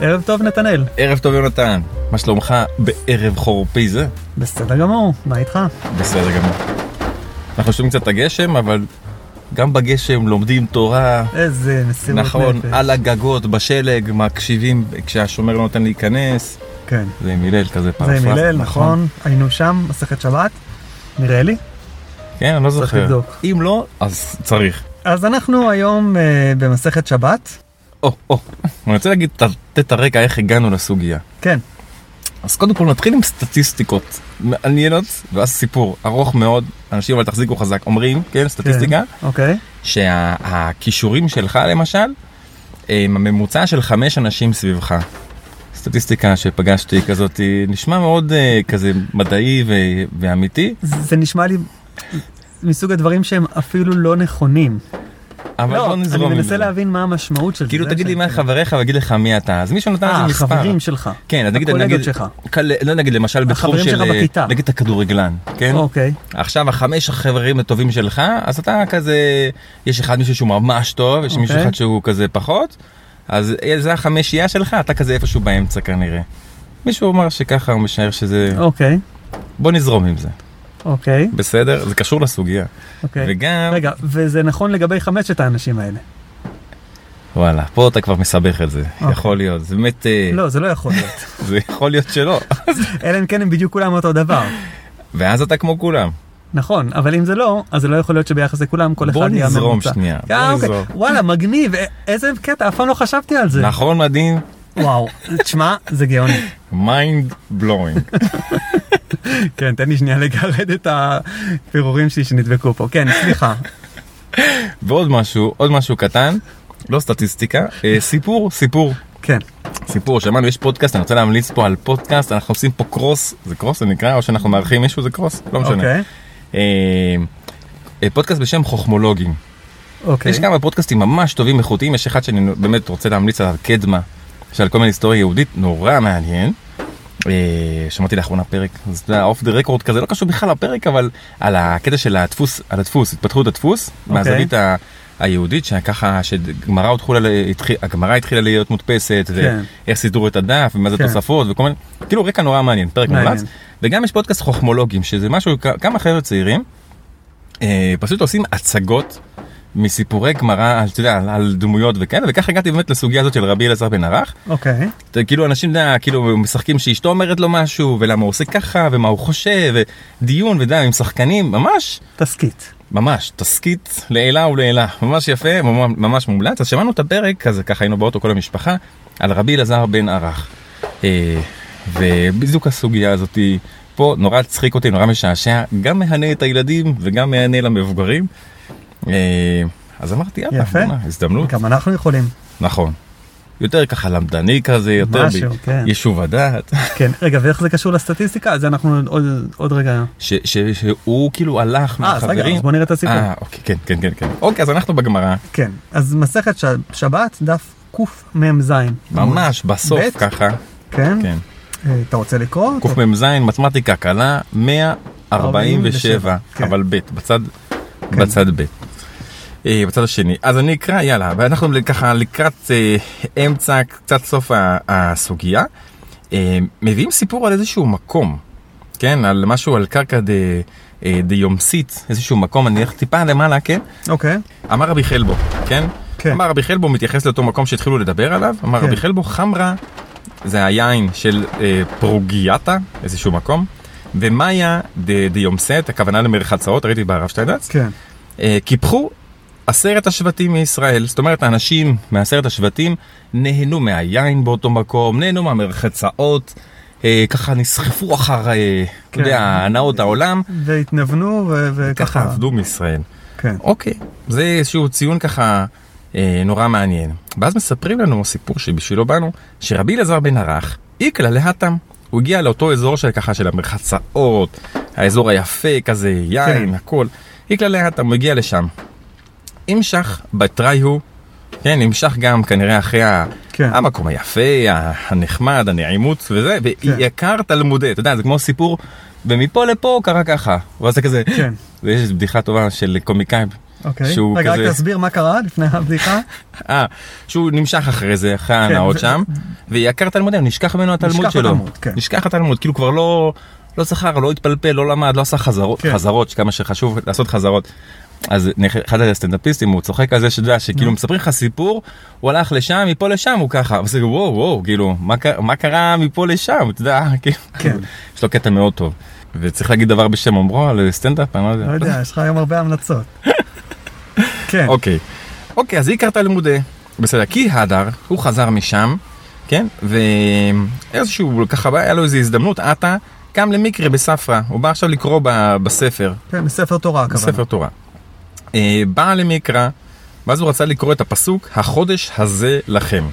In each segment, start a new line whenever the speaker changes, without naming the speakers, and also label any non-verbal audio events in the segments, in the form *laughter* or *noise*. ערב טוב נתנאל.
ערב טוב יונתן, מה שלומך בערב חורפי זה?
בסדר גמור, מה איתך?
בסדר גמור. אנחנו שומעים קצת את הגשם, אבל גם בגשם לומדים תורה,
איזה מסירות נפש.
נכון, על הגגות, בשלג, מקשיבים כשהשומר לא נותן להיכנס.
כן.
זה עם הלל כזה
זה
פרפרזה.
עם הלל, נכון. היינו שם, מסכת שבת, נראה לי.
כן, אני לא
צריך
זוכר.
לבדוק.
אם לא, אז צריך.
אז אנחנו היום אה, במסכת שבת.
או, או, אני רוצה להגיד, לתת את הרקע איך הגענו לסוגיה.
כן,
אז קודם כל נתחיל עם סטטיסטיקות מעניינות, ואז סיפור ארוך מאוד, אנשים אבל תחזיקו חזק, אומרים, כן, סטטיסטיקה,
אוקיי.
שהכישורים שלך למשל, הם הממוצע של חמש אנשים סביבך. סטטיסטיקה שפגשתי כזאת, היא נשמע מאוד אה, כזה מדעי ו- ואמיתי,
זה זה נשמע לי מסוג הדברים שהם אפילו לא נכונים.
אבל לא, נזרום עם
אני
זה.
מנסה להבין מה המשמעות של זה.
כאילו
זה
תגיד לי
שאני-
מה חבריך ויגיד לך מי אתה, אז מישהו נתן איזה
אה,
מספר.
החברים שלך.
כן, אז נגיד,
הקולגות
נגיד,
שלך.
קל, לא נגיד למשל בתחום
החברים
של,
שלך
אה,
בכיתה.
נגיד את הכדורגלן, כן?
אוקיי,
עכשיו החמש החברים הטובים שלך, אז אתה כזה, יש אחד מישהו שהוא ממש טוב, יש מישהו
אוקיי.
אחד שהוא כזה פחות, אז אה, זה החמשייה שלך, אתה כזה איפשהו באמצע כנראה. מישהו אמר שככה הוא משער שזה,
אוקיי,
בוא נזרום עם זה,
אוקיי,
בסדר? זה קשור לסוגיה.
אוקיי.
וגם, כן.
רגע, וזה נכון לגבי חמשת האנשים האלה.
וואלה, פה אתה כבר מסבך את זה, יכול להיות, זה באמת, אה,
אוקיי. לא, זה לא יכול להיות.
זה יכול להיות שלא,
אלא אם כן הם בדיוק כולם אותו דבר.
ואז אתה כמו כולם.
נכון, אבל אם זה לא, אז זה לא יכול להיות שביחס לכולם כל אחד
בוא
יהיה הממוצע.
נזרום שנייה,
אה,
בוא
אוקיי.
נזרום.
וואלה, מגניב, א- איזה קטע, אף פעם לא חשבתי על זה.
נכון מדהים?
וואו, תשמע, זה גאוני.
מיינד בלואינג.
*laughs* כן, תן לי שנייה לגרד את הפירורים שלי שנדבקו פה. כן, סליחה.
ועוד משהו, עוד משהו קטן, לא סטטיסטיקה, אה, סיפור, סיפור.
כן.
סיפור, שמענו, יש פודקאסט, אני רוצה להמליץ פה על פודקאסט, אנחנו עושים פה קרוס, זה קרוס זה נקרא, או שאנחנו מארחים מישהו, זה קרוס, לא משנה.
אוקיי,
אה, אה, פודקאסט בשם חוכמולוגים.
אוקיי.
יש כמה פודקאסטים ממש טובים, איכותיים, יש אחד שאני באמת רוצה להמליץ עליו, קדמה, שעל כל מיני היסטוריה יהודית, נורא מעניין. אה, שמעתי לאחרונה פרק, אז אתה יודע, אוף דה רקורד כזה, לא קשור בכלל לפרק, אבל על הקטע של הדפוס, על הדפוס, התפתחות הדפוס,
אוקיי.
מהזווית ה... היהודית שככה שגמרא עוד חולה, התחיל- הגמרא התחילה להיות מודפסת
כן.
ואיך סידרו את הדף ומה זה
כן.
תוספות וכל מיני כאילו רקע נורא מעניין פרק
מעניין.
מומלץ וגם יש פודקאסט חוכמולוגים שזה משהו כ- כמה חבר'ה צעירים אה, פשוט עושים הצגות מסיפורי גמרא על, אתה יודע, על, על דמויות וכאלה וככה הגעתי באמת לסוגיה הזאת של רבי אלעזר בן ערך.
אוקיי.
אתה- כאילו אנשים אתה יודע, כאילו משחקים שאשתו אומרת לו משהו ולמה הוא עושה ככה ומה הוא חושב ודיון ואתה יודע, עם שחקנים ממש
תסכית.
ממש תסכית לעילה ולעילה ממש יפה ממש- ממש מומלץ אז שמענו את הפרק הזה ככה היינו באוטו כל המשפחה על רבי אלעזר בן ערך. אה, ובדיוק הסוגיה הזאתי פה נורא צחיק אותי נורא משעשע גם מהנה את הילדים וגם מהנה למבוגרים. אה, אז אמרתי יאללה
יפה.
בוא'נה, הזדמנות
גם אנחנו יכולים.
נכון. יותר ככה למדני כזה יותר
משהו, כן.
יישוב הדעת.
כן, רגע, ואיך זה קשור לסטטיסטיקה? אז אנחנו עוד- עוד רגע...
ש- ש- שהוא כאילו הלך
אה, אז
מהחברים.
רגע, אז בוא נראה את הסיפור.
אה, אוקיי, כן, כן, כן, כן. אוקיי, אז אנחנו בגמרא,
כן, אז מסכת ש- שבת, דף קמ"ז.
ממש בסוף
בית?
ככה.
כן?
כן.
אה, אתה רוצה לקרוא? טוב,
קמ"ז, מתמטיקה קלה, 147,
כן.
אבל ב', בצד, בצד ב'. אה, בצד השני. אז אני אקרא, יאללה, ואנחנו ככה לקראת אה, אמצע, קצת סוף ה- הסוגיה. אה, מביאים סיפור על איזשהו מקום, כן? על משהו, על קרקע דה- אה, דיומסית, איזשהו מקום, אני אלך טיפה למעלה, כן?
אוקיי.
אמר רבי חלבו, כן?
כן.
אמר רבי חלבו מתייחס לאותו מקום שהתחילו לדבר עליו, אמר
כן.
רבי חלבו חמרה זה היין של אה, פרוגיאטה, איזשהו מקום, ומאיה ד- דיומסט, הכוונה למרחצאות, ראיתי בהרב שטיינדץ,
כן.
אה, קיפחו עשרת השבטים מישראל, זאת אומרת האנשים מעשרת השבטים נהנו מהיין באותו מקום, נהנו מהמרחצאות, אה, ככה נסחפו אחר, אה, אתה
כן.
יודע, הנאות העולם,
והתנוונו ו-
ככה
וככה.
עבדו מישראל.
כן.
אוקיי, זה איזשהו ציון ככה אה, נורא מעניין. ואז מספרים לנו סיפור שבשבילו באנו, שרבי אלעזר בן ערך, איקלה להתם. הוא הגיע לאותו אזור של ככה של המרחצאות, האזור היפה כזה, יין,
כן.
הכל. איקלה להתם, הוא הגיע לשם. נמשך בתראי הוא, כן, נמשך גם כנראה אחרי ה...
כן.
המקום היפה, ה- הנחמד, הנעימות וזה,
כן.
ויקר תלמודי, אתה יודע, זה כמו סיפור, ומפה לפה קרה ככה, ואז זה כזה,
כן.
ויש איזו בדיחה טובה של קומיקאים
אוקיי.
שהוא
רגע,
כזה-
רק תסביר מה קרה לפני
*laughs*
הבדיחה.
אה, שהוא נמשך אחרי זה, אחרי ההנאות
כן, ו-
שם, ועיקר תלמודי, נשכח ממנו התלמוד
נשכח
שלו.
התלמוד, כן.
נשכח התלמוד, כאילו כבר לא, לא זכר, לא התפלפל, לא למד, לא עשה חזרות,
כן.
חזרות, כמה שחשוב לעשות חזרות. אז נכ- אחד הסטנדאפיסטים הוא צוחק על זה שאתה יודע שכאילו מספרים לך סיפור הוא הלך לשם מפה לשם הוא ככה וזה וואו וואו כאילו מה ק- מה קרה מפה לשם אתה יודע *laughs* כאילו
כן.
יש לו קטע מאוד טוב וצריך להגיד דבר בשם אומרו על סטנדאפ אני לא יודע.
לא יודע, יש לך היום הרבה
*laughs*
המלצות. כן,
אוקיי. אוקיי, אז עיקר תלמודי. בסדר, כי הדר, הוא חזר משם, כן? ואיזשהו, ככה, היה לו איזו הזדמנות, עטה, קם למקרה בספרא. הוא בא עכשיו לקרוא ב- בספר,
כן, בספר תורה הכוונה.
בספר תורה. אה, בא למקרא, ואז הוא רצה לקרוא את הפסוק, החודש הזה לכם.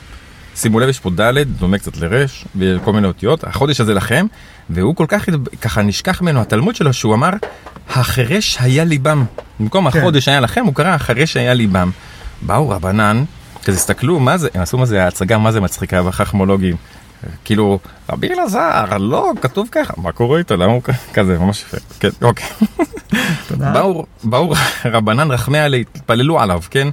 שימו לב, יש פה ד', דומה קצת לרש, וכל מיני אותיות, החודש הזה לכם, והוא כל כך, התב- ככה נשכח ממנו התלמוד שלו, שהוא אמר, החרש היה ליבם. במקום
כן.
החודש היה לכם, הוא קרא, החרש היה ליבם. באו רבנן, כזה הסתכלו, מה זה, הם עשו מה זה, ההצגה, מה זה מצחיקה והחכמולוגים. כאילו, רבי אלעזר, לא, כתוב ככה, מה קורה איתו, למה הוא כ- כזה, ממש יפה, כן, אוקיי.
תודה.
באו, באו *laughs* רבנן רחמי עלי, התפללו עליו, כן?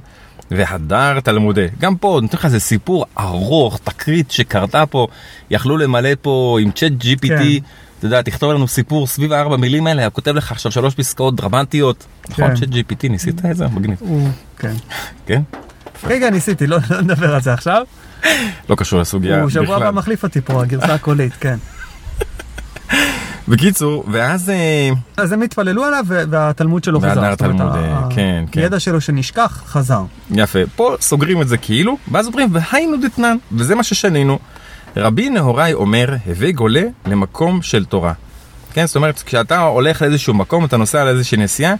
והדר תלמודי. גם פה, נותן לך איזה סיפור ארוך, תקרית שקרתה פה, יכלו למלא פה עם צ'אט GPT,
כן.
אתה יודע, תכתוב לנו סיפור סביב הארבע מילים האלה, הוא כותב לך עכשיו שלוש פסקאות דרמטיות. נכון,
כן.
צ'אט GPT, ניסית את זה? מגניב,
הוא- כן.
כן?
רגע, ניסיתי, לא לא נדבר על זה עכשיו.
לא קשור לסוגיה
הוא שבוע הבא
בכלל.
מחליף אותי פה, הגרסה הקולית, כן.
בקיצור, ואז... אה,
אז הם התפללו עליו, ו- והתלמוד שלו חזר.
והדר
זאת אומרת,
תלמוד,
ה-
אה,
ה-
כן, כן.
הידע שלו שנשכח, חזר.
יפה, פה סוגרים את זה כאילו, ואז אומרים והיינו דתנן, וזה מה ששנינו. רבי נהוראי אומר, הווה גולה למקום של תורה. כן, זאת אומרת, כשאתה הולך לאיזשהו מקום, אתה נוסע לאיזושהי נסיעה,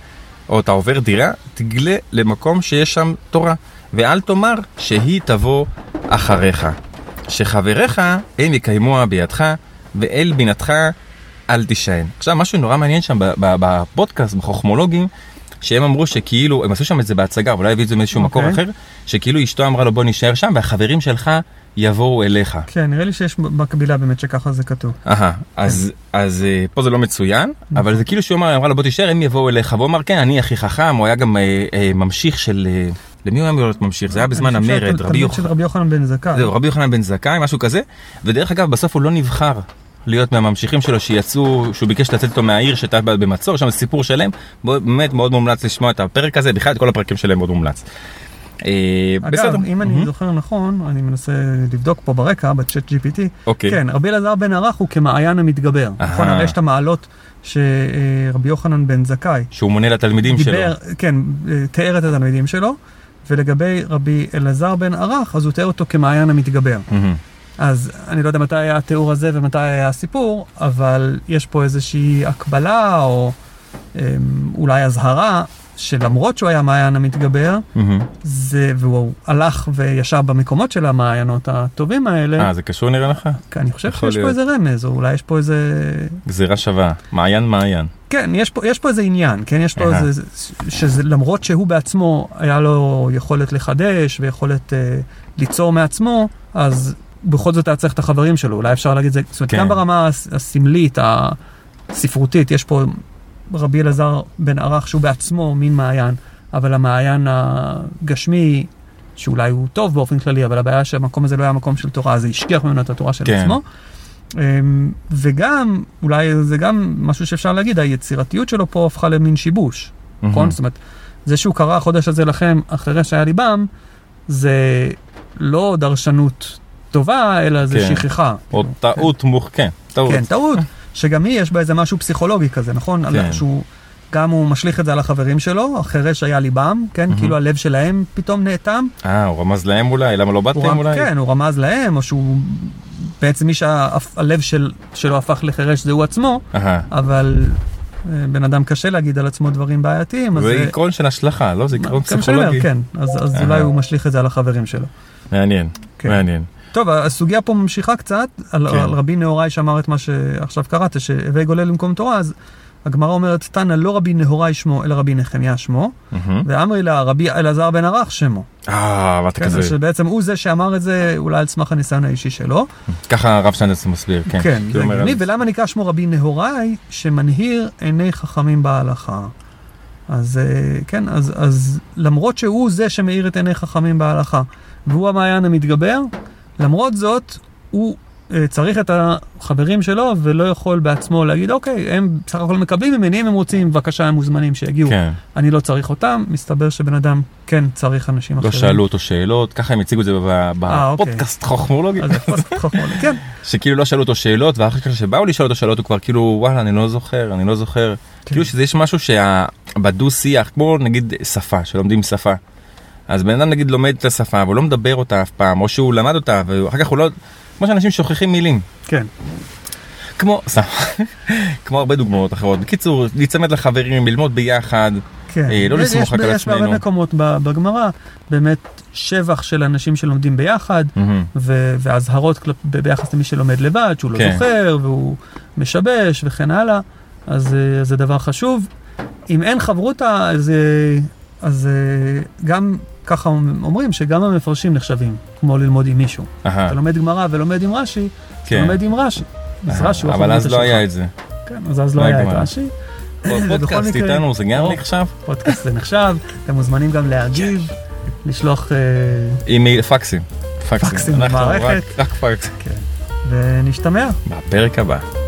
או אתה עובר דירה, תגלה למקום שיש שם תורה, ואל תאמר שהיא תבוא אחריך. שחבריך הם יקיימוה בידך, ואל בינתך אל תישען. עכשיו, משהו נורא מעניין שם ב- ב- בפודקאסט, בחוכמולוגים, שהם אמרו שכאילו, הם עשו שם את זה בהצגה, אולי הביאו את זה מאיזשהו מקור
אוקיי.
אחר, שכאילו אשתו אמרה לו בוא נשאר שם, והחברים שלך יבואו אליך.
כן, נראה לי שיש מקבילה באמת שככה זה כתוב.
אהה, אז, אז אה, פה זה לא מצוין, אבל זה כאילו שהוא אמר, אמרה לו בוא תישאר, הם יבואו אליך, והוא אמר כן, אני הכי חכם, הוא היה גם אה, אה, ממשיך של, אה, למי הוא היה אמור להיות ממשיך? זה היה בזמן
אני חושב
המרד,
שהתל-
רבי
תלמיד
יוחנן,
של רבי יוחנן בן זכאי.
זהו, רבי יוחנן בן זכאי, משהו כזה, ודרך אגב, בסוף הוא לא נבחר להיות מהממשיכים שלו שיצאו, שהוא ביקש לצאת אותו מהעיר שהייתה במצור, שם זה סיפור שלם, בוא- באמת מאוד מומלץ לשמוע את הפרק הזה, בכלל את כל הפרקים שלהם מאוד מומלץ. אה, בסדר,
אגב, אם אני
מהמם.
זוכר נכון, אני מנסה לבדוק פה ברקע, בצ'אט GPT,
אוקיי.
כן, רבי אלעזר בן ערך הוא כמעיין המתגבר.
אהה.
נכון, הרי יש את המעלות שרבי יוחנן בן זכאי
שהוא מונה לתלמידים שלו.
דיבר, כן, אה, תיאר את התלמידים שלו, ולגבי רבי אלעזר בן ערך, אז הוא תיאר אותו כמעיין המתגבר.
מהמם.
אז אני לא יודע מתי היה התיאור הזה ומתי היה הסיפור, אבל יש פה איזושהי הקבלה, או אה, אולי אזהרה, שלמרות שהוא היה מעיין המתגבר,
מהמם.
זה, והוא הלך וישב במקומות של המעיינות הטובים האלה,
אה, זה קשור נראה לך?
כי אני חושב
יכול
שיש פה
להיות.
איזה רמז, או אולי יש פה איזה...
גזירה שווה, מעיין מעיין.
כן, יש פה, יש פה איזה עניין, כן, יש פה
אהה.
איזה... שזה, למרות שהוא בעצמו, היה לו יכולת לחדש ויכולת אה, ליצור מעצמו, אז בכל זאת היה צריך את החברים שלו, אולי אפשר להגיד את זה, זאת אומרת,
כן.
גם ברמה הס- הסמלית, הספרותית, יש פה רבי אלעזר בן ערך שהוא בעצמו מין מעיין, אבל המעיין הגשמי, שאולי הוא טוב באופן כללי, אבל הבעיה שהמקום הזה לא היה מקום של תורה, אז זה השכיח ממנו את התורה של
כן.
עצמו. אמ, וגם, אולי זה גם משהו שאפשר להגיד, היצירתיות שלו פה הפכה למין שיבוש,
Mhm.
נכון? זאת אומרת, זה שהוא קרא החודש הזה לכם אחרי שהיה ליבם, זה לא דרשנות טובה, אלא זה
כן.
שכחה.
או
כאילו,
טעות מוך, כן, טעות.
כן, טעות, שגם היא יש בה איזה משהו פסיכולוגי כזה, נכון? על-
כן.
שהוא, גם הוא משליך את זה על החברים שלו, החרש היה ליבם, כן? כאילו הלב שלהם פתאום נאטם.
אה, הוא רמז להם אולי, למה לא
הוא רמ-
באתם אולי?
כן, הוא רמז להם, או שהוא... בעצם מי שהלב של, שלו הפך לחרש זה הוא עצמו,
אהה.
אבל אה, בן אדם קשה להגיד על עצמו דברים בעייתיים, אז...
זה
אה,
עיקרון של השלכה, לא? זה עיקרון
כן, שאני אומר,
פסיכולוגי.
כן, אז, אז
אה.
אולי הוא משליך את זה על החברים שלו.
מעניין,
כן.
מעניין.
טוב, הסוגיה פה ממשיכה קצת, על,
כן.
כן. על רבי נהוראי שאמר את מה שעכשיו קראת, שהווי גולל למקום תורה, אז הגמרא אומרת, תנא לא רבי נהוראי שמו, אלא רבי נחמיה שמו,
מהמם.
ואמרי לה רבי אלעזר בן ערך שמו.
אה, ואתה
כן,
כזה,
שבעצם הוא זה שאמר את זה, אולי על סמך הניסיון האישי שלו.
ככה הרב שנדס מסביר,
כן,
כן. כאילו
זה
אומר,
הגיוני,
אז-
ולמה נקרא שמו רבי נהוראי, שמנהיר עיני חכמים בהלכה. אז אה, כן, אז, אז למרות שהוא זה שמאיר את עיני חכמים בהלכה, והוא המעיין המתגבר, למרות זאת, הוא אה, צריך את החברים שלו ולא יכול בעצמו להגיד, אוקיי, הם בסך הכל מקבלים ממני אם הם רוצים, בבקשה, הם מוזמנים שיגיעו.
כן.
אני לא צריך אותם, מסתבר שבן אדם כן צריך אנשים
לא
אחרים.
שאלו אותו שאלות, ככה הם הציגו את זה ב-
אה, אוקיי.
בפודקאסט חכמולוגי,
אז הפוסט חכמולוגי, כן,
שכאילו לא שאלו אותו שאלות, ואחר כך שבאו לשאול אותו שאלות הוא כבר כאילו וואלה אני לא זוכר, אני לא זוכר.
כן.
כאילו שזה יש משהו שבדו שיח, כמו נגיד שפה, שלומדים שפה. אז בן אדם נגיד לומד את השפה, והוא לא מדבר אותה אף פעם, או שהוא למד אותה, ואחר כך הוא לא... כמו שאנשים שוכחים מילים.
כן.
כמו, סתם, *laughs* כמו הרבה דוגמאות אחרות. בקיצור, להיצמד לחברים, ללמוד ביחד.
כן.
אה, לא
יש-
לסמוך
יש-
רק על
יש בהרבה
עצמנו.
מקומות ב- בגמרא, באמת שבח של אנשים שלומדים ביחד,
מהמם.
ו- ואזהרות כל- ב- ביחס למי שלומד לבד, שהוא לא
כן.
זוכר, והוא משבש וכן הלאה, אז אה, אז זה דבר חשוב. אם אין חברותה, אז, אה, אז אה, גם ככה אומרים שגם המפרשים נחשבים, כמו ללמוד עם מישהו.
אהה,
אתה לומד גמרא ולומד עם רש"י, אתה
אה. כן.
לומד עם רש"י. אז
אהה,
רש"י הוא
אבל
החברותא
אז
שלך.
לא היה את
*laughs*
זה.
כן, אז אז לא
לא
היה את
הגמרא.
רש"י.
פודקאסט
מקרה- לא.
איתנו זה גם
או.
נחשב?
פודקאסט זה נחשב, אתם מוזמנים גם להגיב, לשלוח, אה,
עם מייל- פקסים.
פקסים
אנחנו
במערכת.
רק- רק פקס.
ונשתמע.
בפרק הבא.